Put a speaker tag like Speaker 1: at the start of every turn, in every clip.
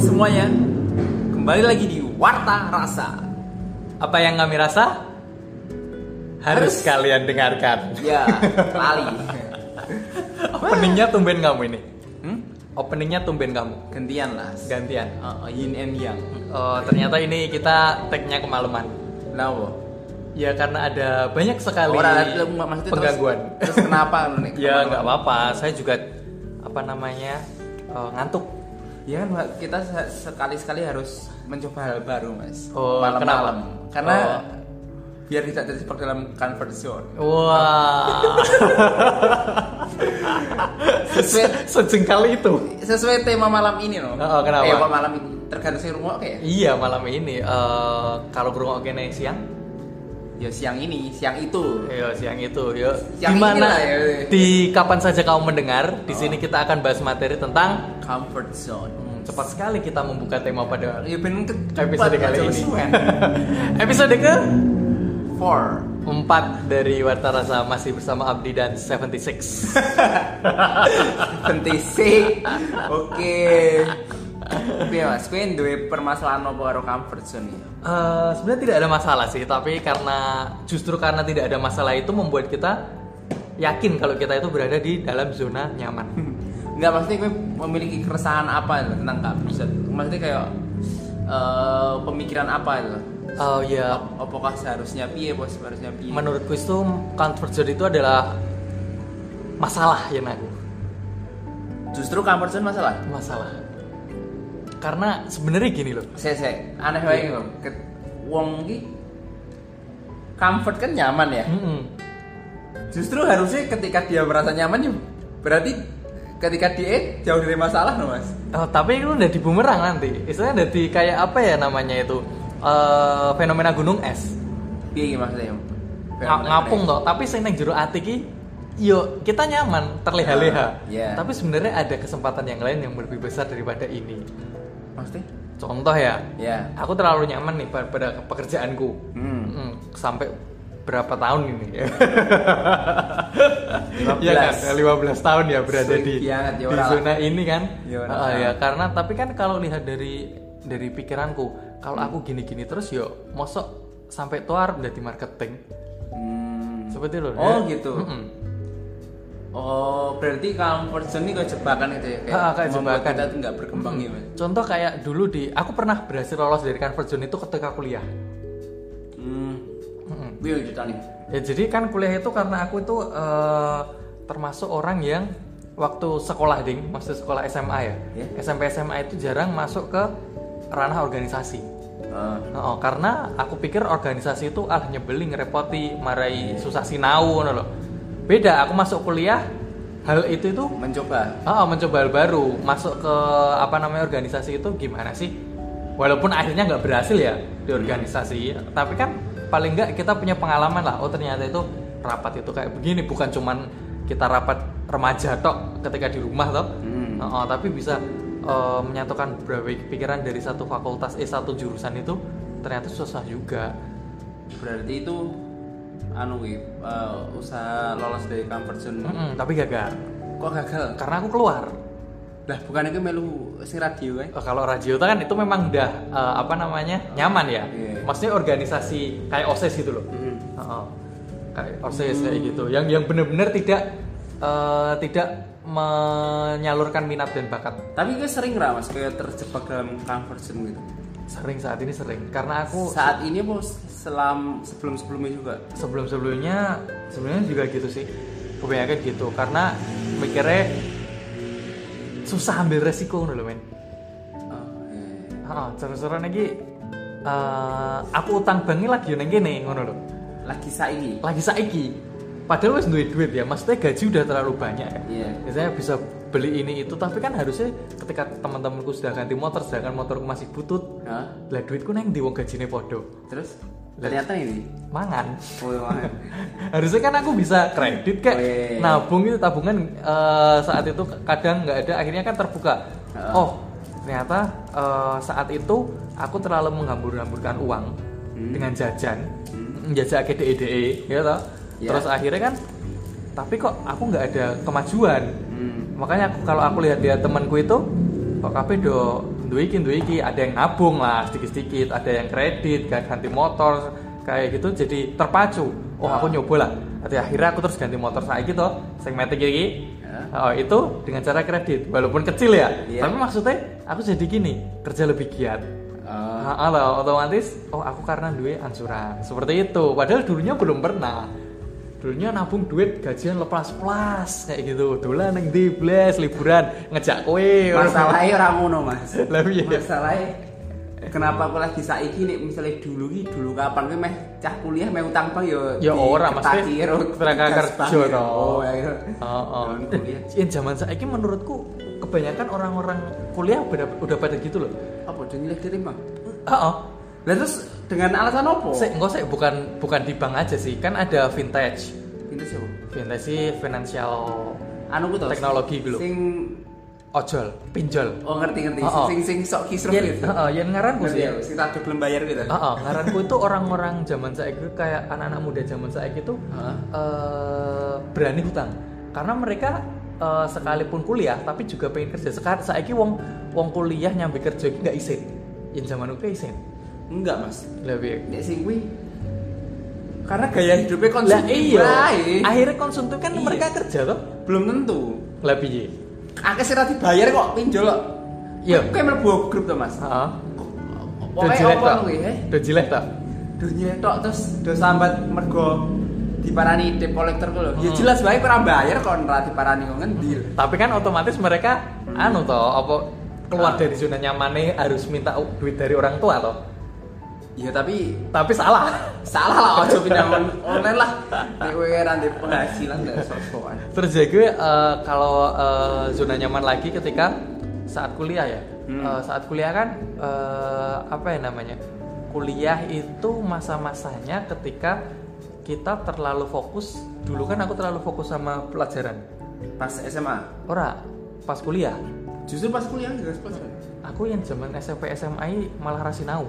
Speaker 1: semuanya Kembali lagi di Warta Rasa
Speaker 2: Apa yang kami rasa harus,
Speaker 1: Harus.
Speaker 2: kalian dengarkan.
Speaker 1: Ya, kali
Speaker 2: Openingnya tumben kamu ini.
Speaker 1: hmm?
Speaker 2: Openingnya tumben kamu.
Speaker 1: Gantian lah
Speaker 2: Gantian.
Speaker 1: Uh, Yin and Yang
Speaker 2: Oh, ternyata ini kita tag-nya kemalaman.
Speaker 1: Kenapa?
Speaker 2: Ya karena ada banyak sekali
Speaker 1: maksudnya
Speaker 2: penggangguan.
Speaker 1: Terus, terus kenapa lu nih?
Speaker 2: Ya nggak apa-apa. Saya juga apa namanya eh, ngantuk.
Speaker 1: Ya kan Mbak, kita se- sekali-sekali harus mencoba hal baru mas
Speaker 2: Oh,
Speaker 1: Malam-malam.
Speaker 2: kenapa?
Speaker 1: Karena
Speaker 2: Oh.
Speaker 1: biar tidak terjebak dalam comfort zone
Speaker 2: Wah.
Speaker 1: Sesuai,
Speaker 2: Sejengkal itu.
Speaker 1: sesuai tema malam ini loh
Speaker 2: Oh, oh, kenapa?
Speaker 1: Eh, kok malam ini? Tergantung si rumah kayak
Speaker 2: Iya malam ini. Eh, kalau berungok kene siang,
Speaker 1: Ya siang ini, siang itu
Speaker 2: Iya siang itu. Yuk.
Speaker 1: Siang
Speaker 2: di mana?
Speaker 1: ini lah, ya.
Speaker 2: Di kapan saja kamu mendengar? Di sini kita akan bahas materi tentang
Speaker 1: comfort zone.
Speaker 2: Hmm, cepat sekali kita membuka tema pada
Speaker 1: Ya bener ke
Speaker 2: episode kali ini. episode ke
Speaker 1: Four.
Speaker 2: 4 dari Warta Rasa masih bersama Abdi dan 76.
Speaker 1: Pentisik. Oke. Piye Mas, kowe duwe permasalahan apa karo comfort zone iki?
Speaker 2: Eh, sebenarnya tidak ada masalah sih, tapi karena justru karena tidak ada masalah itu membuat kita yakin kalau kita itu berada di dalam zona nyaman.
Speaker 1: Enggak maksudnya kowe memiliki keresahan apa itu tentang comfort zone? Maksudnya kayak eh, pemikiran apa itu?
Speaker 2: Oh ya,
Speaker 1: Apakah seharusnya piye, bos? Seharusnya piye?
Speaker 2: menurutku itu comfort zone itu adalah masalah ya nak
Speaker 1: Justru comfort zone masalah.
Speaker 2: masalah karena sebenarnya gini loh
Speaker 1: Saya saya aneh banget loh. Ke- Wong iki comfort kan nyaman ya.
Speaker 2: Mm-mm.
Speaker 1: Justru harusnya ketika dia merasa nyaman ya berarti ketika dia jauh dari masalah no mas.
Speaker 2: Oh, tapi itu udah di bumerang nanti istilahnya udah di kayak apa ya namanya itu Eh, fenomena gunung es
Speaker 1: Iya gimana maksudnya? Om?
Speaker 2: Nga- ngapung toh tapi sing neng jero ati ki yo kita nyaman terleha-leha
Speaker 1: Ah, iya.
Speaker 2: tapi sebenarnya ada kesempatan yang lain yang lebih besar daripada ini
Speaker 1: Maksudnya?
Speaker 2: contoh ya
Speaker 1: Ya.
Speaker 2: aku terlalu nyaman nih pada pekerjaanku
Speaker 1: Hmm.
Speaker 2: Mm, sampai berapa tahun ini? ya?
Speaker 1: 15.
Speaker 2: Iya kan? 15 tahun ya berada
Speaker 1: Sweet
Speaker 2: di
Speaker 1: banget, ya
Speaker 2: di
Speaker 1: orang.
Speaker 2: zona ini kan?
Speaker 1: Ya orang.
Speaker 2: Ah, ya karena tapi kan kalau lihat dari dari pikiranku, kalau aku gini-gini terus yo mosok sampai tuar udah di marketing.
Speaker 1: Hmm.
Speaker 2: Seperti loh.
Speaker 1: Oh,
Speaker 2: ya.
Speaker 1: gitu.
Speaker 2: Mm-mm.
Speaker 1: Oh berarti comfort zone ini kayak jebakan itu ya?
Speaker 2: Ah, kayak
Speaker 1: membuat
Speaker 2: jebakan.
Speaker 1: Kita tuh nggak berkembang gitu. Mas.
Speaker 2: Contoh kayak dulu di aku pernah berhasil lolos dari comfort zone itu ketika kuliah.
Speaker 1: Hmm.
Speaker 2: Mm-mm.
Speaker 1: Wih cerita nih.
Speaker 2: Ya jadi kan kuliah itu karena aku itu eh, termasuk orang yang waktu sekolah ding, maksud sekolah SMA ya.
Speaker 1: Ya.
Speaker 2: SMP SMA itu jarang masuk ke ranah organisasi.
Speaker 1: Ah,
Speaker 2: Oh, karena aku pikir organisasi itu ah nyebelin, ngerepoti, marai susah sinau ngono loh. Beda, aku masuk kuliah hal itu itu
Speaker 1: mencoba.
Speaker 2: oh, mencoba hal baru, masuk ke apa namanya organisasi itu gimana sih? Walaupun akhirnya nggak berhasil ya di organisasi, tapi kan paling nggak kita punya pengalaman lah. Oh ternyata itu rapat itu kayak begini, bukan cuman kita rapat remaja tok ketika di rumah tok,
Speaker 1: Hmm.
Speaker 2: Oh, oh, tapi bisa eh, menyatukan beberapa pikiran dari satu fakultas eh satu jurusan itu ternyata susah juga.
Speaker 1: Berarti itu anu gitu. usaha lolos dari comfort zone.
Speaker 2: Mm-mm, tapi gagal
Speaker 1: Kok gagal?
Speaker 2: karena aku keluar.
Speaker 1: Lah bukan itu melu si radio kan?
Speaker 2: Eh, Kalau Rajio itu kan itu memang udah eh, apa namanya nyaman ya,
Speaker 1: Iya.
Speaker 2: maksudnya organisasi kayak osis gitu loh,
Speaker 1: Hmm.
Speaker 2: Heeh. kayak osis kayak gitu, yang yang benar-benar tidak eh, tidak menyalurkan minat dan bakat.
Speaker 1: Tapi gue sering nggak mas kayak terjebak dalam comfort zone gitu.
Speaker 2: Sering saat ini sering, karena aku
Speaker 1: Saat ini bos selam sebelum sebelumnya juga.
Speaker 2: sebelum-sebelumnya sebenarnya juga gitu sih, kebanyakan gitu, karena mikirnya susah ambil resiko dulu men.
Speaker 1: Oh, iya.
Speaker 2: Heeh, seru-seruan lagi, eh, aku utang bangi lagi neng gini ngono loh.
Speaker 1: Lagi saiki.
Speaker 2: lagi saiki padahal wes duit duit ya maksudnya gaji udah terlalu banyak ya
Speaker 1: Iya.
Speaker 2: biasanya bisa beli ini itu tapi kan harusnya ketika teman-temanku sudah ganti motor sedangkan motorku masih butut
Speaker 1: Hah?
Speaker 2: lah duitku neng di wong gajine podo
Speaker 1: Terus ternyata ini.
Speaker 2: mangan
Speaker 1: Oh, iya.
Speaker 2: harusnya kan aku bisa kredit kayak
Speaker 1: Oh, iya, iya.
Speaker 2: nabung itu tabungan eh, saat itu kadang nggak ada akhirnya kan terbuka
Speaker 1: Heeh.
Speaker 2: oh ternyata eh, saat itu aku terlalu menghambur-hamburkan uang
Speaker 1: Hmm.
Speaker 2: dengan jajan jajan ke DEDE ya toh
Speaker 1: Ya.
Speaker 2: terus akhirnya kan tapi kok aku nggak ada kemajuan
Speaker 1: Hmm.
Speaker 2: makanya aku kalau aku lihat dia temanku itu kok kabeh do duiki duiki ada yang nabung lah sedikit sedikit ada yang kredit kayak ganti motor kayak gitu jadi terpacu oh
Speaker 1: Ah.
Speaker 2: aku nyoba lah Tapi akhirnya aku terus ganti motor saya gitu segmentik gini oh, itu dengan cara kredit walaupun kecil ya
Speaker 1: Ah. Iya.
Speaker 2: tapi maksudnya aku jadi gini kerja lebih giat
Speaker 1: Eh,
Speaker 2: Ah, ah, lah, otomatis oh aku karena duit angsuran seperti itu padahal dulunya belum pernah dulunya nabung duit gajian lepas pelas kayak gitu dolan neng di blas liburan ngejak kowe
Speaker 1: masalahnya orang ngono mas
Speaker 2: Eh, Lah, iya.
Speaker 1: masalahnya kenapa aku lagi saiki nih misalnya dulu ki dulu kapan ki meh cah kuliah meh utang bang yo
Speaker 2: Ya ora, maksudnya tenaga kerja, toh.
Speaker 1: oh ya iya.
Speaker 2: oh, oh.
Speaker 1: Tahun kuliah
Speaker 2: yang zaman saya ini menurutku kebanyakan orang-orang kuliah udah, udah pada gitu loh
Speaker 1: apa udah nilai diri bang
Speaker 2: oh, oh.
Speaker 1: lah terus dengan alasan apa
Speaker 2: Sik, engko sik, bukan bukan di bank aja sih kan ada vintage
Speaker 1: itu Gitu sih
Speaker 2: vintage sih financial
Speaker 1: anu ku toh
Speaker 2: Teknologi dulu.
Speaker 1: sing
Speaker 2: ojol pinjol
Speaker 1: oh ngerti ngerti
Speaker 2: Oh, oh.
Speaker 1: sing sing sok kisruh
Speaker 2: Yen,
Speaker 1: gitu
Speaker 2: heeh, yen ngaranku
Speaker 1: Ngerti
Speaker 2: sih.
Speaker 1: ya, sing tak belum bayar gitu
Speaker 2: Heeh, ngaranku itu orang-orang zaman saiki kayak anak-anak muda zaman saiki itu
Speaker 1: Heeh.
Speaker 2: eh, berani hutang. Karena mereka eh, sekalipun kuliah tapi juga pengen kerja. Sekarang saiki wong wong kuliah nyambi kerja iki nggak isin. Yen zaman ku isin.
Speaker 1: enggak mas
Speaker 2: Lebih
Speaker 1: Nek sing kuwi karena gaya Ya, hidupnya
Speaker 2: lah
Speaker 1: konsumtif
Speaker 2: iya.
Speaker 1: bae.
Speaker 2: Akhirnya konsumtif kan
Speaker 1: Iya.
Speaker 2: mereka kerja toh.
Speaker 1: belum tentu.
Speaker 2: Lah piye?
Speaker 1: Akeh sing ora dibayar kok pinjol kok.
Speaker 2: Iya.
Speaker 1: Kowe kowe mlebu grup to, Mas.
Speaker 2: Heeh. Do
Speaker 1: Pokoke
Speaker 2: jilek
Speaker 1: apa
Speaker 2: tok.
Speaker 1: kuwi, eh?
Speaker 2: Do jilek tok.
Speaker 1: Do nyetok terus do sambat mergo diparani debt collector ku lho. Ya
Speaker 2: Hmm.
Speaker 1: jelas bae ora bayar kok ora diparani kok ngendi. lho.
Speaker 2: Tapi kan otomatis mereka anu toh apa keluar
Speaker 1: Ah.
Speaker 2: dari zona nyamannya harus minta u- duit dari orang tua toh.
Speaker 1: Iya tapi
Speaker 2: Tapi salah.
Speaker 1: salah lah ojo pindah on- online lah. Nek kowe ora ndek penghasilan gak sok-sokan.
Speaker 2: Terus ya gue eh, kalau eh, zona nyaman lagi ketika saat kuliah ya.
Speaker 1: Hmm.
Speaker 2: Eh, saat kuliah kan eh, apa ya namanya? Kuliah itu masa-masanya ketika kita terlalu fokus. Dulu kan aku terlalu fokus sama pelajaran.
Speaker 1: Pas SMA.
Speaker 2: Ora pas kuliah
Speaker 1: Justru pas kuliah enggak pas.
Speaker 2: aku yang zaman SMP SMA i malah rasinau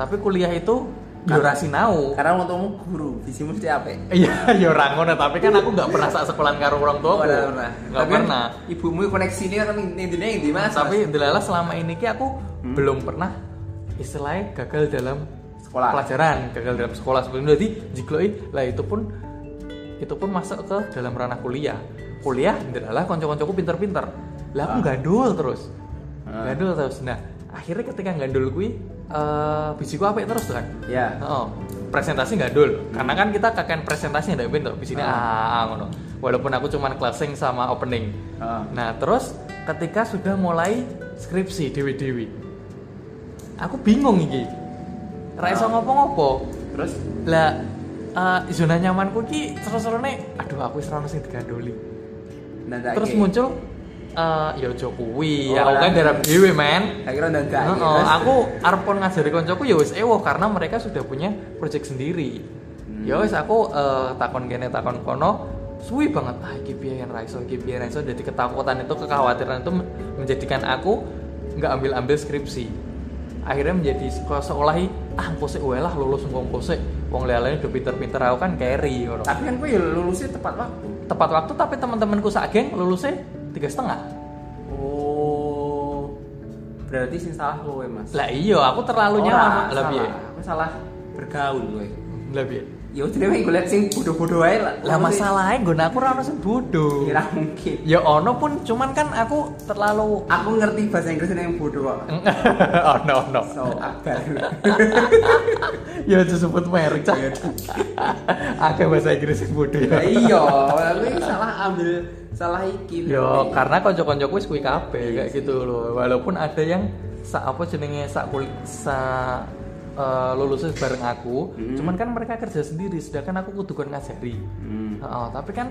Speaker 2: tapi kuliah itu yo
Speaker 1: Karena-
Speaker 2: rasinau
Speaker 1: Karena untukmu guru, bisimu mesti apik.
Speaker 2: iya yo ra ngono tapi kan aku nggak pernah sak sekolahan karo orang tua
Speaker 1: Oh, nggak pernah.
Speaker 2: nggak
Speaker 1: Tapi
Speaker 2: pernah
Speaker 1: Ibumu koneksi ini kan intinya yang di mas.
Speaker 2: Nah,
Speaker 1: Hmm.
Speaker 2: tapi delalah selama ini ki aku belum pernah istilahnya gagal dalam
Speaker 1: Sekolah.
Speaker 2: pelajaran gagal dalam sekolah sebelumnya jadi jikloi lah itu pun itu pun masuk ke dalam ranah kuliah kuliah delalah konco-koncoku pinter-pinter lah aku
Speaker 1: Ah.
Speaker 2: gandul terus
Speaker 1: Ah.
Speaker 2: gandul terus nah akhirnya ketika gandul kui eh bisiku apik terus tuh kan
Speaker 1: ya.
Speaker 2: Oh, presentasi nggak dul, karena kan kita kakek presentasi ada bento di sini
Speaker 1: Ah.
Speaker 2: ah, ah, ngono. Walaupun aku cuman closing sama opening.
Speaker 1: Ah.
Speaker 2: Nah terus ketika sudah mulai skripsi dewi dewi, aku bingung iki. Raiso
Speaker 1: Ah.
Speaker 2: ngopo-ngopo.
Speaker 1: Terus
Speaker 2: Lah eh, zona nyamanku ki seru-serune aduh aku wis ra ono sing digandoli.
Speaker 1: nandake.
Speaker 2: Terus muncul eh ya ojo kuwi,
Speaker 1: Oh,
Speaker 2: aku kan
Speaker 1: lah.
Speaker 2: darap dewi men.
Speaker 1: Akhirnya nandake. ya, Terus-
Speaker 2: Heeh, Nah, iya. aku arpon ngajari koncoku ya wis ewoh karena mereka sudah punya project sendiri.
Speaker 1: Hmm.
Speaker 2: Ya wis aku eh, takon kene takon kono suwi banget ah iki piye yang raiso iki piye raiso jadi ketakutan itu kekhawatiran itu men- menjadikan aku nggak ambil-ambil skripsi. Akhirnya menjadi seko- seolah i, ah engko sik wae lah lulus engko engko sik wong lelene udah pinter-pinter aku kan carry ngono.
Speaker 1: Tapi kan gue ya lulusnya tepat waktu.
Speaker 2: Tepat waktu tapi teman-temanku sak geng lulusnya tiga setengah.
Speaker 1: Oh. Berarti sing salah gue mas.
Speaker 2: Lah iya aku
Speaker 1: Ora,
Speaker 2: terlalu nyaman
Speaker 1: salah.
Speaker 2: lebih
Speaker 1: Aku salah bergaul gue.
Speaker 2: lebih.
Speaker 1: Ya udah gue liat sing bodoh-bodoh aja lah.
Speaker 2: Lah masalahnya gue aku rano sing bodoh.
Speaker 1: Kira mungkin.
Speaker 2: Ya ono pun cuman kan aku terlalu
Speaker 1: Aku ngerti bahasa Inggrisnya yang bodoh kok.
Speaker 2: ono ono.
Speaker 1: So akbar.
Speaker 2: Ya disebut merek cah.
Speaker 1: Ya,
Speaker 2: Agak bahasa Inggris sing bodoh
Speaker 1: Ya
Speaker 2: ya.
Speaker 1: iya, tapi salah ambil salah iki.
Speaker 2: Yo Ya, karena kanca-kancaku wis kuwi
Speaker 1: Iya,
Speaker 2: kabeh kayak gitu loh. Walaupun ada yang sak apa jenenge sak kulit sa eh, lulusnya bareng aku,
Speaker 1: Hmm.
Speaker 2: cuman kan mereka kerja sendiri sedangkan aku kudu kon ngajari.
Speaker 1: Hmm.
Speaker 2: Heeh, tapi kan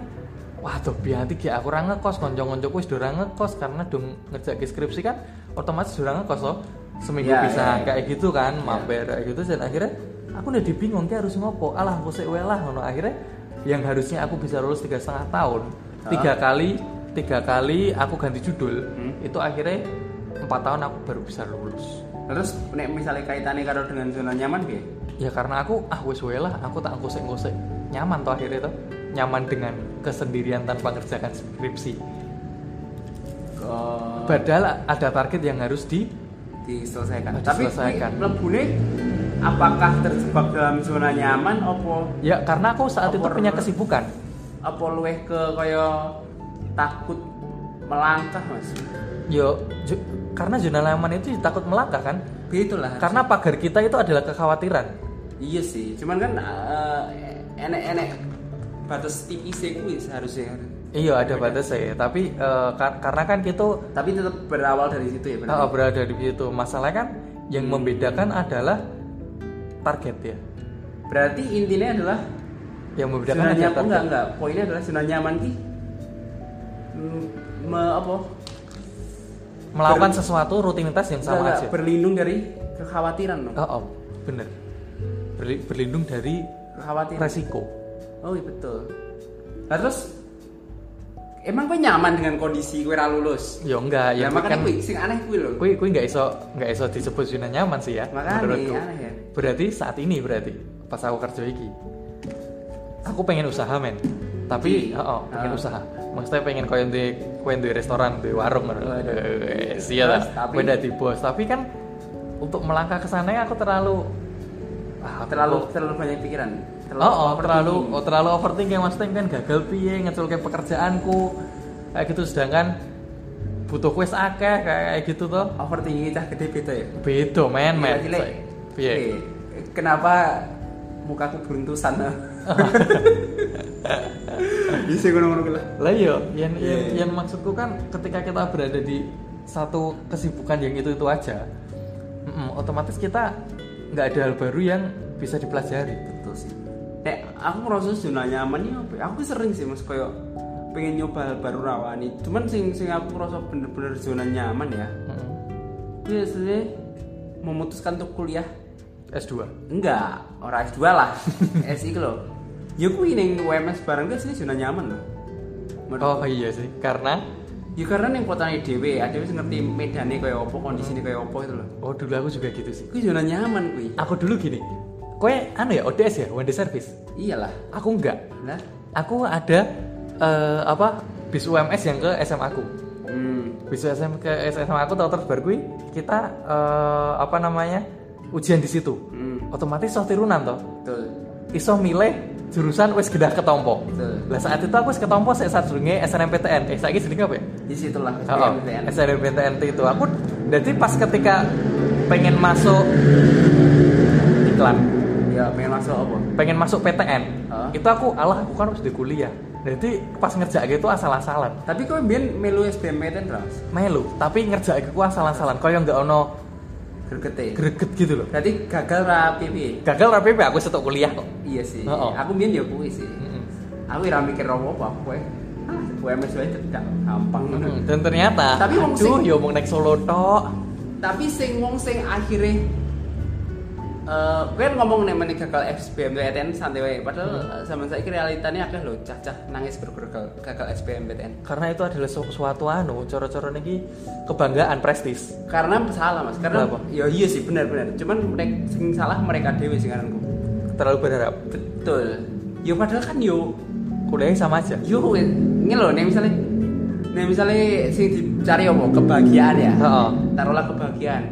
Speaker 2: wah tuh biati ki aku ora ngekos kanca-kancaku wis ora ngekos karena dong ngerjain skripsi kan otomatis ora ngekos loh. Seminggu
Speaker 1: Ya,
Speaker 2: bisa
Speaker 1: ya, ya.
Speaker 2: kayak gitu kan, mampir kayak gitu dan akhirnya aku udah dibingung ki harus ngopo. Alah aku sik wae lah ngono. Akhirnya yang harusnya aku bisa lulus tiga setengah tahun,
Speaker 1: Hah?
Speaker 2: tiga kali tiga kali aku ganti judul
Speaker 1: Hmm.
Speaker 2: itu akhirnya empat tahun aku baru bisa lulus
Speaker 1: Terus nek misalnya kaitannya karo dengan zona nyaman piye?
Speaker 2: ya karena aku ah wes wae lah aku tak ngosek ngosek nyaman toh akhirnya toh nyaman dengan kesendirian tanpa ngerjakan skripsi
Speaker 1: Ke
Speaker 2: padahal ada target yang harus di
Speaker 3: Oh,
Speaker 1: diselesaikan. Tapi
Speaker 2: diselesaikan.
Speaker 1: lebune apakah terjebak dalam zona nyaman apa
Speaker 2: Ya karena aku saat itu
Speaker 1: Over.
Speaker 2: punya kesibukan.
Speaker 1: apa luweh ke kaya takut melangkah, Mas?
Speaker 2: Yo ju- karena zona nyaman itu takut melangkah kan?
Speaker 1: Begitulah.
Speaker 2: Karena pagar kita itu adalah kekhawatiran.
Speaker 1: Iya sih, cuman kan eh, enek-enek batas tipis e kuwi seharusnya.
Speaker 2: Iya ada batasnya, tapi eh, kar- karena kan kita
Speaker 1: Tapi tetap berawal dari situ ya
Speaker 2: eh,
Speaker 1: benar.
Speaker 2: berada di situ. Masalahnya kan yang membedakan adalah target ya.
Speaker 1: Berarti intinya adalah
Speaker 2: Yang membedakan
Speaker 1: zona
Speaker 2: adalah
Speaker 1: nyaman enggak enggak. Poinnya adalah zona nyaman ki mm, me, apa?
Speaker 2: Melakukan
Speaker 1: Ber-
Speaker 2: sesuatu rutinitas yang
Speaker 1: Enggak,
Speaker 2: sama
Speaker 1: enggak,
Speaker 2: aja.
Speaker 1: berlindung dari kekhawatiran dong.
Speaker 2: Oh, oh, bener. Berli- berlindung dari
Speaker 1: Kekhawatiran.
Speaker 2: resiko.
Speaker 1: Oh iya betul. Nah terus emang gue nyaman dengan kondisi gue ra lulus.
Speaker 2: Ya enggak,
Speaker 1: Ya,
Speaker 2: ya kan
Speaker 1: makanya gue sing aneh gue loh.
Speaker 2: kui kui nggak iso nggak iso disebut zona nyaman sih ya.
Speaker 1: Makanya,
Speaker 2: menurutku.
Speaker 1: aneh ya.
Speaker 2: Berarti saat ini berarti pas aku kerja iki. Aku pengen usaha men. Tapi
Speaker 1: Iki.
Speaker 2: oh, oh, pengen
Speaker 1: Ah.
Speaker 2: usaha. Maksudnya pengen koyo duwe koyo duwe restoran, duwe warung ngono.
Speaker 1: Waduh.
Speaker 2: Eh, Iya lah.
Speaker 1: Terus, tapi-
Speaker 2: Beda di bos, tapi kan untuk melangkah ke sana ya aku terlalu ah, aku
Speaker 1: Terlalu terlalu banyak pikiran.
Speaker 2: oh, oh terlalu
Speaker 1: overthinking.
Speaker 2: oh, terlalu overthinking mas Tim kan gagal piye ngeculke pekerjaanku kayak gitu sedangkan butuh kuis akeh kayak gitu toh
Speaker 1: overthinking cah gede beda ya.
Speaker 2: beda men men
Speaker 1: Gila-gila.
Speaker 2: piye
Speaker 1: Eh, Iya, Kenapa mukaku beruntusan? Iya Bisa gue ngono kuwi lah.
Speaker 2: lah iya yang,
Speaker 1: Iya,
Speaker 2: yang-
Speaker 1: iya.
Speaker 2: yang maksudku kan ketika kita berada di satu kesibukan yang itu itu aja mm-mm, otomatis kita nggak ada hal baru yang bisa dipelajari
Speaker 1: Betul sih. Nek aku merasa zona nyaman ya apa ya? Aku sering sih mas koyo pengen nyoba hal baru rawani. Cuman sing sing aku merasa bener-bener zona nyaman ya.
Speaker 2: Mm-mm.
Speaker 1: Iya sih memutuskan untuk kuliah
Speaker 2: S2
Speaker 1: enggak orang S2 lah SI ku loh ya aku ini UMS bareng gue sih zona nyaman loh
Speaker 2: oh iya sih karena
Speaker 1: Ya karena yang kotanya dewe, ada yang ngerti medannya kayak opo, kondisinya kayak opo itu loh.
Speaker 2: oh dulu aku juga gitu sih
Speaker 1: Kui zona nyaman kui.
Speaker 2: aku dulu gini kowe anu ya ODS ya one day service
Speaker 1: Iyalah.
Speaker 2: aku enggak
Speaker 1: Nah.
Speaker 2: aku ada eh, apa bis UMS yang ke SMA aku
Speaker 1: Hmm.
Speaker 2: bis SM ke SMA aku tahun terbaru kui, kita eh, apa namanya ujian di situ
Speaker 1: Hmm.
Speaker 2: otomatis soh tirunan toh
Speaker 1: Betul.
Speaker 2: iso milih jurusan wes gedah ketompo
Speaker 1: Betul.
Speaker 2: lah saat itu aku wes ketompo saya saat SNMPTN eh saiki jenenge apa ya
Speaker 1: Di situlah
Speaker 2: Oh,
Speaker 1: SBMPTN.
Speaker 2: SNMPTN itu aku jadi pas ketika pengen masuk iklan
Speaker 1: Ya pengen masuk opo.
Speaker 2: pengen masuk PTN
Speaker 1: Hah?
Speaker 2: itu aku alah aku kan harus di kuliah jadi pas ngerja gitu asal-asalan
Speaker 1: Tapi kau mbien melu SBMPTN terus.
Speaker 2: melu tapi ngerja aku asal-asalan kau yang nggak ono
Speaker 1: Gergete.
Speaker 2: greget gitu loh
Speaker 1: Berarti gagal rapi piye?
Speaker 2: gagal rapi aku setok kuliah kok
Speaker 1: Iya sih.
Speaker 2: Oh, oh.
Speaker 1: Aku mbien ya kui sih.
Speaker 2: Mm-mm.
Speaker 1: Aku ora mikir opo aku kowe. Ah, UMS wae cedak gampang ngono.
Speaker 2: Mm, dan ternyata
Speaker 1: Tapi wong
Speaker 2: aduh
Speaker 1: sing-
Speaker 2: ya omong naik solo tok
Speaker 1: tapi sing wong sing akhirnya eh gue ngomong nih menit gagal SBMPTN santai wae padahal eh, zaman saya realitanya akeh lho cah-cah nangis bergergal gagal SBMPTN
Speaker 2: karena itu adalah su- suatu anu coro-coro ini kebanggaan prestis
Speaker 1: karena salah mas karena
Speaker 2: Kenapa?
Speaker 1: ya iya sih benar-benar cuman mereka sing salah mereka dewi sing ngaranku.
Speaker 2: terlalu berharap
Speaker 1: betul yo padahal kan yo
Speaker 2: kuliahnya sama aja
Speaker 1: yo ini loh nih misalnya nih misalnya sing dicari apa kebahagiaan ya
Speaker 2: Heeh.
Speaker 1: taruhlah kebahagiaan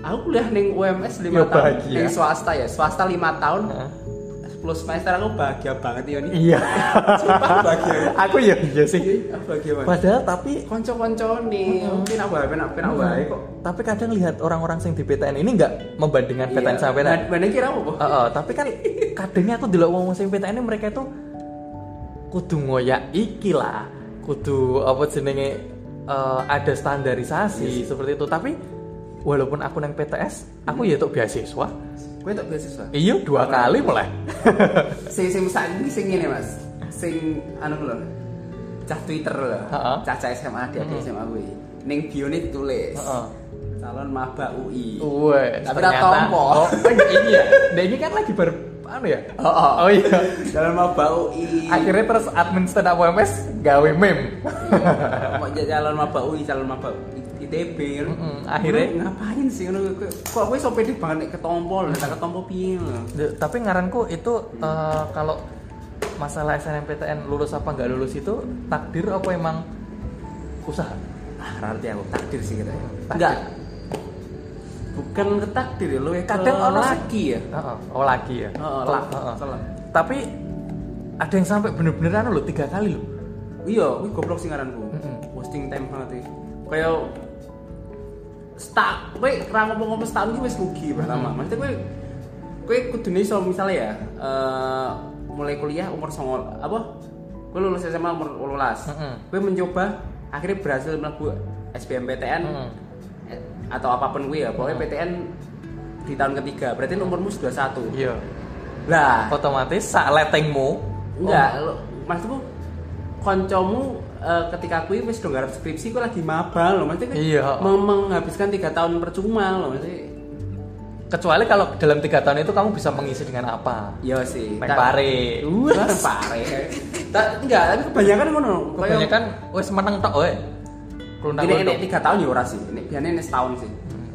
Speaker 1: aku kuliah neng UMS 5
Speaker 2: Ya,
Speaker 1: tahun
Speaker 2: bahagia.
Speaker 1: neng swasta ya swasta 5 tahun
Speaker 2: Heeh.
Speaker 1: 10 semester aku bahagia banget ya nih
Speaker 2: iya
Speaker 1: Sumpah bahagia
Speaker 2: aku ya iya sih
Speaker 1: Aku bahagia banget
Speaker 2: padahal tapi
Speaker 1: Konco-konco nih Mungkin aku bahagia, mungkin aku bahagia kok
Speaker 2: tapi kadang lihat orang-orang yang di PTN ini nggak membandingkan PTN sama PTN
Speaker 1: Nah, Mana kira apa?
Speaker 2: Oh, oh, tapi kan kadangnya aku dulu ngomong sing PTN ini mereka itu kudu ngoyak iki lah, kudu apa jenenge eh, ada standarisasi seperti itu. Tapi walaupun aku neng PTS, aku ya tok beasiswa.
Speaker 1: Gue tak beasiswa
Speaker 2: Iya dua kali mulai.
Speaker 1: Sing sing saat ini sing ini mas Sing anu lho Cah Twitter lho
Speaker 2: Heeh. Hmm.
Speaker 1: Cah cah SMA dia di SMA gue Neng bio nih tulis
Speaker 2: Heeh. Oh.
Speaker 1: Calon maba UI
Speaker 2: Wes,
Speaker 1: Tapi ra tompo.
Speaker 2: Oh, kan ini ya. Dan ini kan lagi ber anu ya.
Speaker 1: Oh, oh.
Speaker 2: iya.
Speaker 1: Calon maba UI
Speaker 2: Akhirnya terus admin stand up UMS gawe meme.
Speaker 1: Kok jadi calon maba UI Calon maba ITB kan?
Speaker 2: Mm-mm, akhirnya.
Speaker 1: Gue ngapain sih ngono? Gue- Kok gue sampai di banget nek ketompol Tak ketompo piye lho
Speaker 2: D- tapi ngaranku itu eh, kalau masalah SNMPTN lulus apa nggak lulus itu takdir apa emang usaha
Speaker 1: Ah, nanti aku takdir sih kita.
Speaker 2: Takdir.
Speaker 1: Enggak. bukan ke takdir ya, luwih ke
Speaker 2: Kadang ono sing-
Speaker 1: laki ya.
Speaker 2: Heeh. oh lagi ya
Speaker 1: Heeh,
Speaker 2: Telak,
Speaker 1: lagi,
Speaker 2: heeh.
Speaker 1: telak.
Speaker 2: tapi ada yang sampai bener-bener anu loh tiga kali loh
Speaker 1: Iya, kuwi goblok sing ngaranku.
Speaker 2: Mm-mm.
Speaker 1: Wasting time banget iki. Kayak stuck, kowe ra ngomong-ngomong stuck iki wis rugi pertama. Maksudnya kowe kowe kudune iso misalnya ya, eh, mulai kuliah umur 9 apa? Kowe lulus SMA umur 18.
Speaker 2: Mm-mm.
Speaker 1: Kowe mencoba akhirnya berhasil mlebu SBMPTN
Speaker 2: Mm-mm.
Speaker 1: eh, atau apapun kowe ya, pokoknya PTN di tahun ketiga. Berarti umurmu sudah satu.
Speaker 2: iya
Speaker 1: Lah,
Speaker 2: otomatis sak letengmu
Speaker 1: Enggak,
Speaker 2: Oh.
Speaker 1: lo, maksudmu koncomu eh, ketika aku wis dong ngarep skripsi aku lagi mabal loh maksudnya kui
Speaker 2: Iya.
Speaker 1: meng- menghabiskan tiga tahun percuma loh maksudnya
Speaker 2: kecuali kalau dalam tiga tahun itu kamu bisa mengisi dengan apa
Speaker 1: iya sih
Speaker 2: Main
Speaker 1: Tak-
Speaker 2: pare.
Speaker 1: Wah, main pare tak enggak tapi kebanyakan ngono Kayak-
Speaker 2: kebanyakan wes menang tok we kelundang
Speaker 1: ini ini tiga tahun ya ora sih ini biasanya ini setahun sih
Speaker 2: Hmm.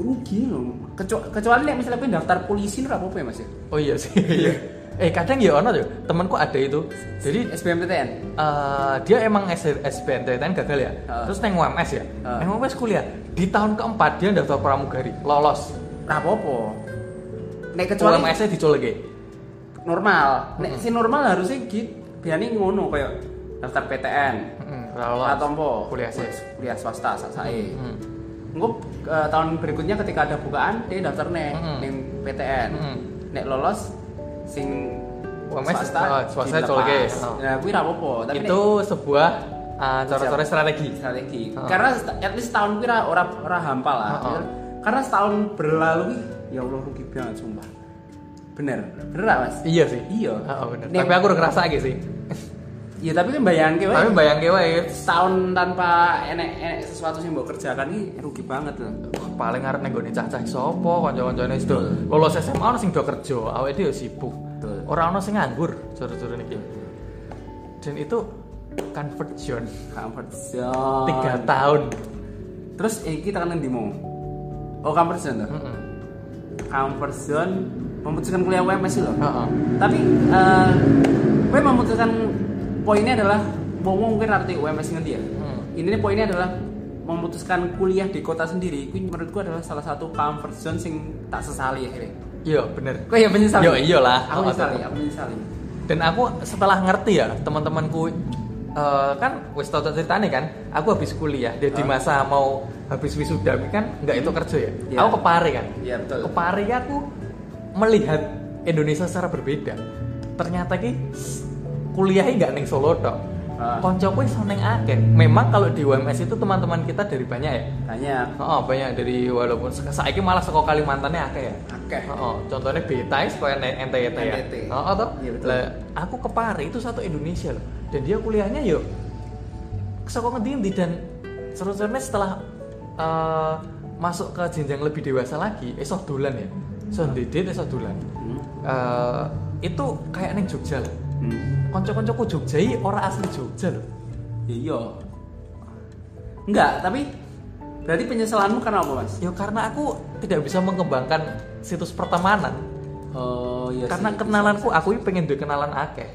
Speaker 1: rugi loh Kecu- kecuali nek misalnya pengen daftar polisi ora apa-apa ya mas ya
Speaker 2: oh iya sih iya eh kadang ya ono yo temanku ada itu jadi
Speaker 1: SBMPTN
Speaker 2: Eh, dia emang S- SBMPTN gagal ya.
Speaker 1: Heeh.
Speaker 2: Terus neng UMS ya.
Speaker 1: Heeh.
Speaker 2: Neng UMS kuliah. Di tahun keempat dia daftar pramugari, lolos.
Speaker 1: ora apa-apa nek kecuali
Speaker 2: UMS-nya dicol lagi.
Speaker 1: normal
Speaker 2: Hmm.
Speaker 1: nek si normal harusnya gitu biasanya ngono kayak daftar PTN
Speaker 2: Heeh, ora lolos.
Speaker 1: Ora Hmm, tompo.
Speaker 2: kuliah Hmm. sih.
Speaker 1: Kuliah swasta sak sae.
Speaker 2: Heeh.
Speaker 1: Engko eh, tahun berikutnya ketika ada bukaan dia daftar neh
Speaker 2: Mm-mm.
Speaker 1: ning PTN.
Speaker 2: Mm-mm.
Speaker 1: Nek lolos sing
Speaker 2: UMS, oh, swasta colge. Oh.
Speaker 1: Nah, kuwi ra apa-apa, tapi
Speaker 2: Itu sebuah eh, cara-cara strategi.
Speaker 1: nek strategi.
Speaker 2: Oh.
Speaker 1: Karena st- at least tahun kuwi ra ora ora hampa lah.
Speaker 2: Oh, oh.
Speaker 1: Karena setahun berlalu kuwi, ya Allah rugi banget sumpah. Bener. Bener ra, Mas?
Speaker 2: Iya sih.
Speaker 1: Iya.
Speaker 2: Heeh, bener.
Speaker 1: Nek-
Speaker 2: Tapi aku udah ngerasa aja sih.
Speaker 1: Ya tapi kan bayangke wae.
Speaker 2: Tapi bayangke wae
Speaker 1: setahun tanpa enek enek sesuatu sih mbok kerjakan ini rugi banget loh.
Speaker 2: wah, paling arep neng gone cacah sapa kanca-kancane wis do lolos SMA ono sing do kerja, awake dhewe yo sibuk.
Speaker 1: Betul.
Speaker 2: Ora ono sing nganggur jur-jur niki. Dan itu conversion
Speaker 1: Comfort zone.
Speaker 2: tiga tahun.
Speaker 1: Terus iki tekanan di mau. Oh comfort zone tuh.
Speaker 2: Heeh.
Speaker 1: Comfort zone memutuskan kuliah UMS loh.
Speaker 2: Heeh.
Speaker 1: Tapi eh gue memutuskan poinnya adalah mau mungkin arti UMS ngerti ya.
Speaker 2: Hmm.
Speaker 1: Ini nih poinnya adalah memutuskan kuliah di kota sendiri. Itu menurut gue adalah salah satu comfort zone sing tak sesali akhirnya.
Speaker 2: Iya bener.
Speaker 1: Gue ya menyesali.
Speaker 2: Yo, iyalah.
Speaker 1: Aku
Speaker 2: Oh,
Speaker 1: menyesali,
Speaker 2: atau-
Speaker 1: aku menyesali.
Speaker 2: Dan aku setelah ngerti ya teman-temanku eh, kan wis tau tak ceritane kan, aku habis kuliah. Jadi masa mau habis wisuda kan nggak itu kerja ya.
Speaker 1: Iya.
Speaker 2: Aku kepare kan.
Speaker 1: Iya betul.
Speaker 2: Kepare ki aku melihat Indonesia secara berbeda. Ternyata ki s- kuliahnya nggak neng Solo tok.
Speaker 1: Ah.
Speaker 2: Koncoku iso neng akeh. Memang kalau di UMS itu teman-teman kita dari banyak ya.
Speaker 1: Banyak.
Speaker 2: Oh, banyak dari walaupun se- saiki malah saka Kalimantannya akeh ya.
Speaker 1: Akeh.
Speaker 2: Oh, contohnya Beta is kayak N- NTT ya.
Speaker 1: NTT.
Speaker 2: Oh, toh.
Speaker 1: Iya, betul.
Speaker 2: Lah, aku ke Pare itu satu Indonesia loh. Dan dia kuliahnya yo saka ngendi dan seru-serunya setelah eh, masuk ke jenjang lebih dewasa lagi, esok dolan ya. So,
Speaker 1: Iya.
Speaker 2: didit esok dolan.
Speaker 1: Hmm.
Speaker 2: Eh, itu kayak neng Jogja loh.
Speaker 1: Hmm.
Speaker 2: Konco-koncoku Jogja i ora asli Jogja loh.
Speaker 1: Ya, Iya. Enggak, tapi berarti penyesalanmu karena apa, Mas?
Speaker 2: Ya karena aku tidak bisa mengembangkan situs pertemanan.
Speaker 1: Oh, iya
Speaker 2: karena
Speaker 1: sih.
Speaker 2: kenalanku aku ini pengen duwe kenalan akeh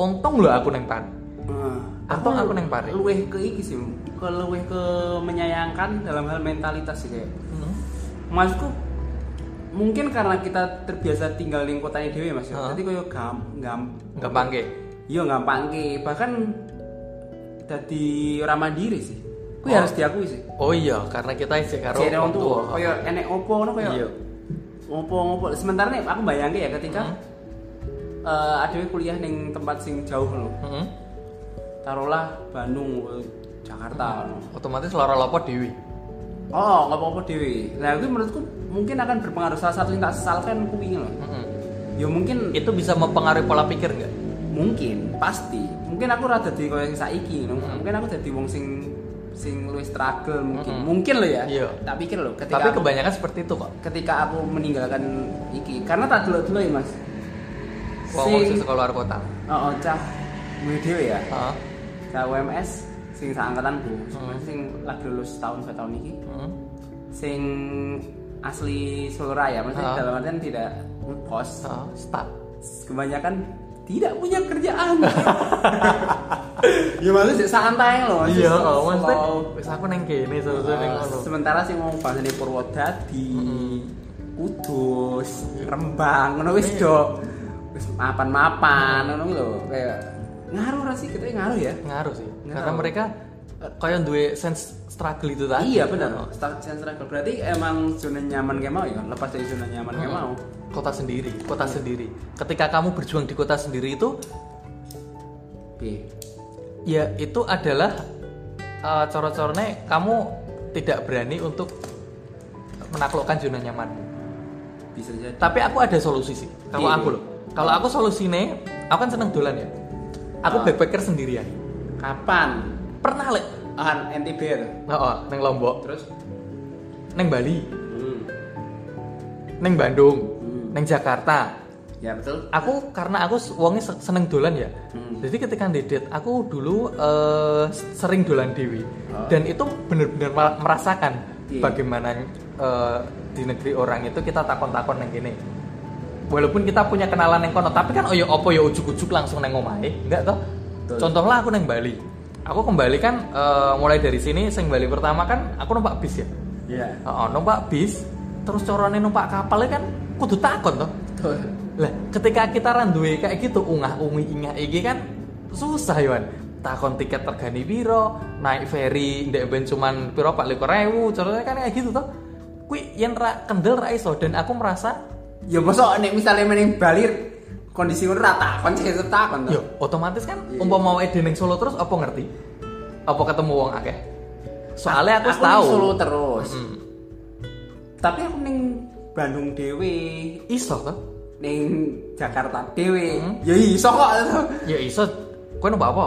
Speaker 2: untung lho aku neng pan
Speaker 1: Nah,
Speaker 2: Atau aku neng pare.
Speaker 1: Luweh ke iki sih, ke luweh ke menyayangkan dalam hal mentalitas sih kayak.
Speaker 2: Hmm?
Speaker 1: Masku mungkin karena kita terbiasa tinggal di kotanya dewe Mas. ya.
Speaker 2: Heeh.
Speaker 1: Jadi koyo gam gam
Speaker 2: gampang ke
Speaker 1: iya gampang ki, bahkan dadi ora mandiri sih. Kuwi
Speaker 2: Oh.
Speaker 1: harus diakui sih.
Speaker 2: oh iya karena kita isi karo
Speaker 1: Jadi orang
Speaker 2: wong
Speaker 1: tua, Oh iya. koyo enek opo ngono koyo.
Speaker 2: Iya.
Speaker 1: Opo-opo. Sementara nih aku bayangke ya ketika
Speaker 2: Hmm.
Speaker 1: eh adewe kuliah ning tempat sing jauh lho.
Speaker 2: Mm-mm.
Speaker 1: Taruhlah Bandung, eh, Jakarta ngono.
Speaker 2: otomatis lara lopo dewi
Speaker 1: Oh, ngopo-ngopo dhewe. Nah, itu menurutku mungkin akan berpengaruh salah satu yang tak sesalkan kuwi lho. Ya mungkin
Speaker 2: Hmm. itu bisa mempengaruhi pola pikir nggak
Speaker 1: mungkin pasti. Mungkin aku ora dadi koyo sing saiki ngono. Mungkin aku dadi wong sing sing luwih struggle mungkin.
Speaker 2: Mm-mm.
Speaker 1: Mungkin lho ya.
Speaker 2: Iya.
Speaker 1: Tak pikir lho ketika
Speaker 2: tapi
Speaker 1: aku-
Speaker 2: kebanyakan seperti itu kok
Speaker 1: ketika aku meninggalkan iki karena tak dulu dulu ya mas
Speaker 2: wong wong sing saka luar kota
Speaker 1: oh, oh cah gue dewe ya
Speaker 2: Heeh.
Speaker 1: cah UMS sing seangkatanku
Speaker 2: Hmm.
Speaker 1: sing lagi lulus tahun dua tahun iki
Speaker 2: Mm-mm.
Speaker 1: sing asli Solo Raya maksudnya
Speaker 2: Ah.
Speaker 1: dalam artian tidak ngekos
Speaker 2: Heeh, stuck
Speaker 1: kebanyakan tidak punya kerjaan ya maksudnya santai loh maksudnya
Speaker 2: iya oh, maksudnya
Speaker 1: slow.
Speaker 2: wis aku neng kene sesuatu neng
Speaker 1: Eh,
Speaker 2: kono
Speaker 1: sementara sih ngomong bahasa ini Purwodadi
Speaker 2: Mm-mm.
Speaker 1: Kudus Rembang ngono wis do wis mapan-mapan ngono lho kayak ngaruh ora sih kita ngaruh ya
Speaker 2: ngaruh sih
Speaker 1: Ngaruh.
Speaker 2: karena mereka eh, kayak duwe sense struggle itu tadi
Speaker 1: iya benar start sentra berarti emang zona nyaman kayak mau ya lepas dari zona nyaman kayak mau
Speaker 2: Hmm. kota sendiri kota
Speaker 1: Iya.
Speaker 2: sendiri ketika kamu berjuang di kota sendiri itu
Speaker 1: Piye?
Speaker 2: ya itu adalah uh, coro-corone kamu tidak berani untuk menaklukkan zona nyaman
Speaker 1: bisa jadi
Speaker 2: tapi aku ada solusi sih kalau
Speaker 1: Iya.
Speaker 2: aku loh kalau aku solusinya aku kan seneng dolan ya aku
Speaker 1: Ah.
Speaker 2: backpacker sendirian
Speaker 1: kapan
Speaker 2: pernah lek
Speaker 1: ah NTB ya tuh.
Speaker 2: oh, oh, neng lombok
Speaker 1: terus
Speaker 2: neng bali
Speaker 1: hmm.
Speaker 2: neng bandung
Speaker 1: Hmm.
Speaker 2: neng jakarta
Speaker 1: ya betul
Speaker 2: aku karena aku s- wongnya se- seneng dolan ya
Speaker 1: Hmm.
Speaker 2: jadi ketika dedet aku dulu eh, sering dolan dewi
Speaker 1: Ah.
Speaker 2: dan itu bener-bener ma- merasakan
Speaker 1: Iya.
Speaker 2: bagaimana eh, di negeri orang itu kita takon-takon yang gini walaupun kita punya kenalan yang kono tapi kan oh ya opo ya ujuk-ujuk langsung neng omahe enggak toh
Speaker 1: Betul.
Speaker 2: contohlah aku neng Bali aku kembali kan eh, mulai dari sini sing Bali pertama kan aku numpak bis ya
Speaker 1: ya
Speaker 2: oh, numpak bis terus corone numpak kapalnya kan kudu takon toh
Speaker 1: betul
Speaker 2: lah, ketika kita randuwe kayak gitu ungah ungi ingah iki kan susah Yohan. Takon tiket tergani piro, naik ferry ndek ben cuman piro Pak Liko Rewu, contohnya kan kayak gitu toh. Kui yen ra kendel ra iso dan aku merasa
Speaker 1: ya masa nek misalnya main Bali kondisi ngono rata kon sih tetap kon
Speaker 2: yo otomatis kan
Speaker 1: Iya.
Speaker 2: umpama mau dening Solo terus apa ngerti? Apa ketemu wong akeh? Soalnya aku,
Speaker 1: aku
Speaker 2: tahu.
Speaker 1: ning Solo terus
Speaker 2: Mm.
Speaker 1: tapi aku neng Bandung dewe
Speaker 2: Iso toh?
Speaker 1: neng Jakarta dewe
Speaker 2: Hmm.
Speaker 1: ya iso kok
Speaker 2: Ya iso. Kowe numpak apa?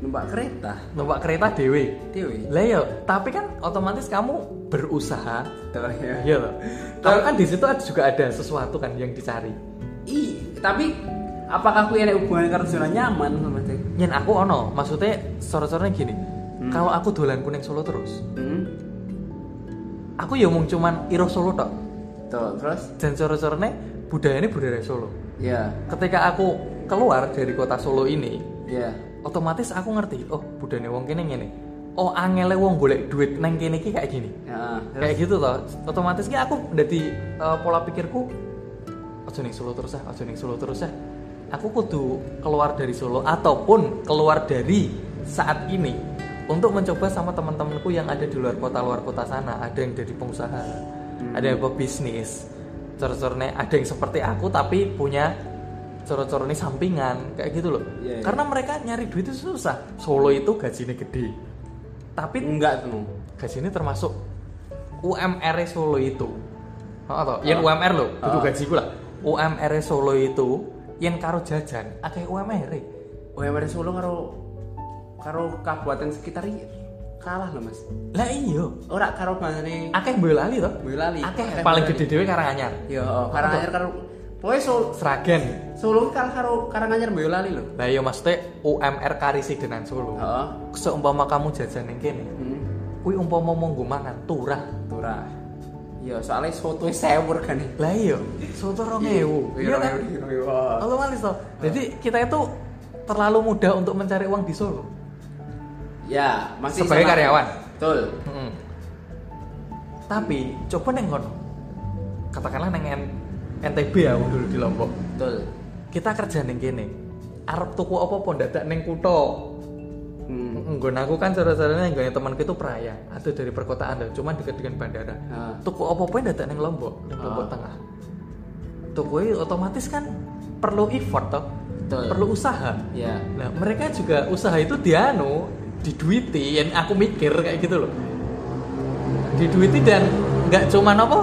Speaker 1: numpak kereta
Speaker 2: Numpak kereta dewe.
Speaker 1: dewe
Speaker 2: Lah yo, tapi kan otomatis kamu berusaha
Speaker 1: Tuh, ya.
Speaker 2: Iya loh. Tapi kan di situ ada- juga ada sesuatu kan yang dicari.
Speaker 1: Ih, tapi apakah aku enak hubungan karo zona nyaman sama teh
Speaker 2: Yang aku ono, maksudnya sore-sorenya gini. Kalau aku dolan kuning Solo terus,
Speaker 1: hmm.
Speaker 2: aku ya mung cuman iro Solo tok.
Speaker 1: tuh terus
Speaker 2: Dan sore-sorenya budayanya budaya Solo.
Speaker 1: ya
Speaker 2: Ketika aku keluar dari kota Solo ini,
Speaker 1: ya
Speaker 2: otomatis aku ngerti, oh budaya wong kene ngene. Oh angele wong golek duit neng kene iki kayak gini.
Speaker 1: ya
Speaker 2: Kayak gitu toh. Otomatis ki aku dari pola pikirku ojo ning Solo terus ah, ojo ning Solo terus ah. Aku kudu keluar dari Solo ataupun keluar dari saat ini untuk mencoba sama teman-temanku yang ada di luar kota luar kota sana. Ada yang jadi pengusaha,
Speaker 1: Hmm.
Speaker 2: ada yang pebisnis. Cor-corne ada yang seperti aku tapi punya cor-corne sampingan kayak gitu loh.
Speaker 1: Iya, iya.
Speaker 2: Karena mereka nyari duit itu susah. Solo itu gajinya gede. Tapi
Speaker 1: enggak tuh
Speaker 2: gaji ini termasuk UMR Solo itu oh, toh? yang UMR lo itu
Speaker 1: Ah.
Speaker 2: gaji lah UMR Solo itu yang karo jajan akeh UMR
Speaker 1: Oh ya, Solo karo karo kabupaten sekitar iki kalah loh mas.
Speaker 2: lah iyo
Speaker 1: Ora karo bangane
Speaker 2: akeh mbok lali toh
Speaker 1: Boyo Lali.
Speaker 2: akeh
Speaker 1: Akeh
Speaker 2: paling
Speaker 1: Boyo Lali.
Speaker 2: gede dhewe Karanganyar
Speaker 1: Yo, Karanganyar karo Pokoknya Solo
Speaker 2: Sragen
Speaker 1: Solo ki kalah karo Karanganyar Boyolali loh.
Speaker 2: lah iyo maksudnya UMR Karisidenan Solo
Speaker 1: Heeh.
Speaker 2: seumpama kamu jajan yang kene
Speaker 1: Hmm.
Speaker 2: kui umpama monggo mangan turah
Speaker 1: Ora. Yo, soalnya soto sewur kan.
Speaker 2: lah iyo soto rong ewu iya kan otomatis toh jadi kita itu terlalu mudah untuk mencari uang di Solo
Speaker 1: Ya, masih
Speaker 2: Sebagai karyawan.
Speaker 1: Betul.
Speaker 2: Mm-mm. Tapi coba neng kono. Katakanlah neng N- NTB ya aku dulu di Lombok.
Speaker 1: Betul.
Speaker 2: Kita kerja neng kene. Arab tuku apa pun dadak neng kutho.
Speaker 1: Hmm.
Speaker 2: Nggon aku kan saudara-saudaranya yang nggone temanku itu peraya atau dari perkotaan loh, cuman dekat dengan bandara.
Speaker 1: Ah.
Speaker 2: Tuku apa pun dadak neng Lombok, neng Lombok
Speaker 1: Ah.
Speaker 2: Tengah. Tuku otomatis kan perlu effort toh.
Speaker 1: Betul.
Speaker 2: Perlu usaha.
Speaker 1: Ya.
Speaker 2: Nah, mereka juga usaha itu dianu, diduiti, yang aku mikir kayak gitu loh. Diduiti dan nggak cuman apa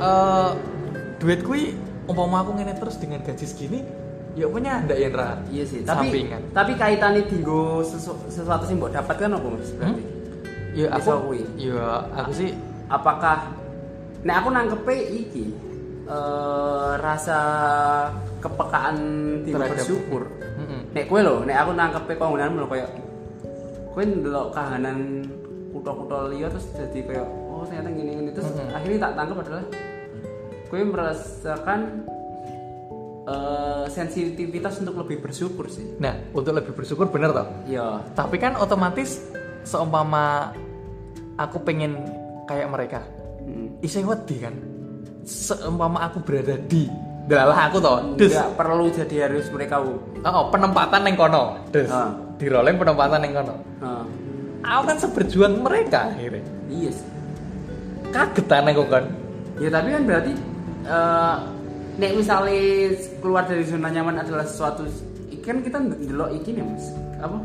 Speaker 2: eh, duit kui umpama aku ngene terus dengan gaji segini, ya punya ndak yang ra.
Speaker 1: Iya sih, tapi
Speaker 2: Sampingan.
Speaker 1: tapi kaitannya tinggo sesu- sesuatu sih mbok dapat kan apa
Speaker 2: Hmm?
Speaker 1: Mas? Berarti.
Speaker 2: Ya aku,
Speaker 1: Bisa kui.
Speaker 2: ya aku sih
Speaker 1: apakah nah aku nangkepe iki eh, rasa kepekaan tim
Speaker 2: Terhadap-
Speaker 1: bersyukur
Speaker 2: Mm-mm.
Speaker 1: nek kue lo nek aku nangkepe konggunan lo kayak kue ndelok kahanan kutol-kutol liya terus jadi kayak oh ternyata gini gini terus
Speaker 2: Mm-mm.
Speaker 1: akhirnya tak tangkep adalah kue merasakan eh, sensitivitas untuk lebih bersyukur sih.
Speaker 2: Nah, untuk lebih bersyukur bener toh.
Speaker 1: Iya.
Speaker 2: Tapi kan otomatis seumpama aku pengen kayak mereka.
Speaker 1: Hmm.
Speaker 2: Isih wedi kan. Seumpama aku berada di dalah aku toh. Des.
Speaker 1: Nggak perlu jadi harus mereka. Bu.
Speaker 2: Oh, penempatan neng kono. Des.
Speaker 1: Ah.
Speaker 2: Di rolling penempatan neng kono.
Speaker 1: Nah,
Speaker 2: Aku kan seberjuang mereka akhirnya.
Speaker 1: iya sih.
Speaker 2: Kagetan aku kan.
Speaker 1: Ya tapi kan berarti eh nek misalnya keluar dari zona nyaman adalah sesuatu kan kita ndelok iki nih Mas. Apa?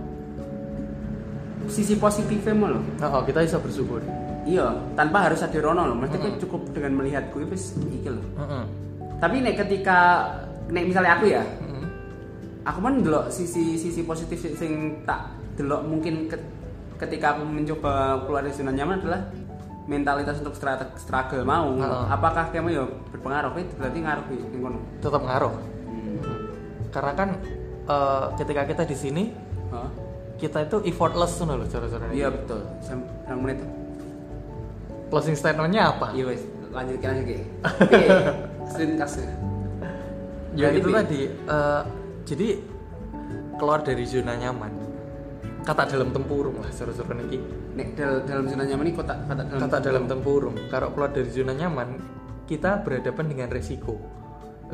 Speaker 1: Sisi positifnya mau loh.
Speaker 2: Oh, oh, kita bisa bersyukur.
Speaker 1: Iya, tanpa harus ada rono loh. Maksudnya
Speaker 2: Mm-mm.
Speaker 1: cukup dengan melihat gue wis iki loh.
Speaker 2: Mm-mm.
Speaker 1: Tapi nek ketika nek misalnya aku ya,
Speaker 2: Mm-mm.
Speaker 1: aku kan delok sisi sisi positif sing- sing tak delok mungkin ke- ketika aku mencoba keluar dari zona nyaman adalah mentalitas untuk strate- struggle mau
Speaker 2: Heeh.
Speaker 1: apakah kamu ya berpengaruh itu berarti ngaruh ya ning kono
Speaker 2: Tetap ngaruh. Karena kan eh, ketika kita di sini
Speaker 1: Heeh.
Speaker 2: kita itu effortless tuh loh cara-cara
Speaker 1: iya betul Sam- berapa menit
Speaker 2: closing statementnya apa?
Speaker 1: iya wes lanjut kita lagi oke sering kasih
Speaker 2: Ya
Speaker 1: Jadi,
Speaker 2: itu
Speaker 1: Bi.
Speaker 2: tadi. eh, jadi keluar dari zona nyaman. Kata dalam tempurung lah seru-seru niki.
Speaker 1: nek dal- dalam zona nyaman ini kota kata dalam
Speaker 2: Kata dalam tempurung. Kalau keluar dari zona nyaman, kita berhadapan dengan resiko.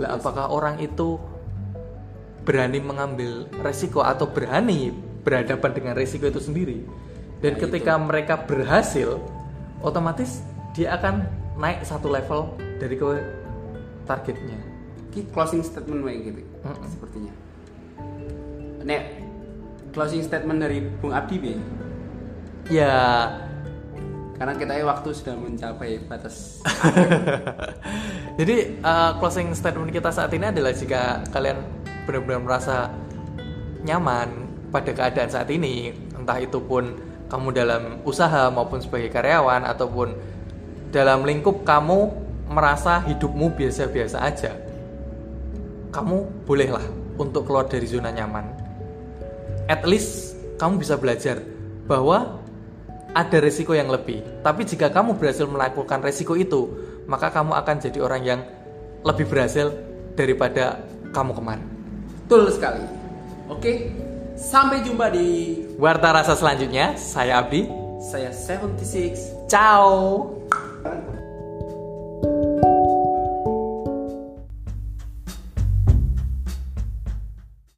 Speaker 2: Lah apakah orang itu berani mengambil resiko atau berani berhadapan dengan resiko itu sendiri? Dan
Speaker 1: Nah,
Speaker 2: ketika mereka berhasil, otomatis dia akan naik satu level dari ke targetnya.
Speaker 1: Ki closing statement wae gitu
Speaker 2: Mm-mm.
Speaker 1: sepertinya nek closing statement dari Bung Abdi bi
Speaker 2: Ya,
Speaker 1: karena kita waktu sudah mencapai batas
Speaker 2: Jadi uh, closing statement kita saat ini adalah jika kalian benar-benar merasa nyaman pada keadaan saat ini, entah itu pun kamu dalam usaha maupun sebagai karyawan ataupun dalam lingkup kamu merasa hidupmu biasa-biasa aja, kamu bolehlah untuk keluar dari zona nyaman. At least kamu bisa belajar bahwa ada resiko yang lebih. Tapi jika kamu berhasil melakukan resiko itu, maka kamu akan jadi orang yang lebih berhasil daripada kamu kemarin.
Speaker 1: betul sekali oke sampai jumpa di
Speaker 2: Warta rasa selanjutnya, saya Abdi.
Speaker 1: saya 76
Speaker 2: Ciao.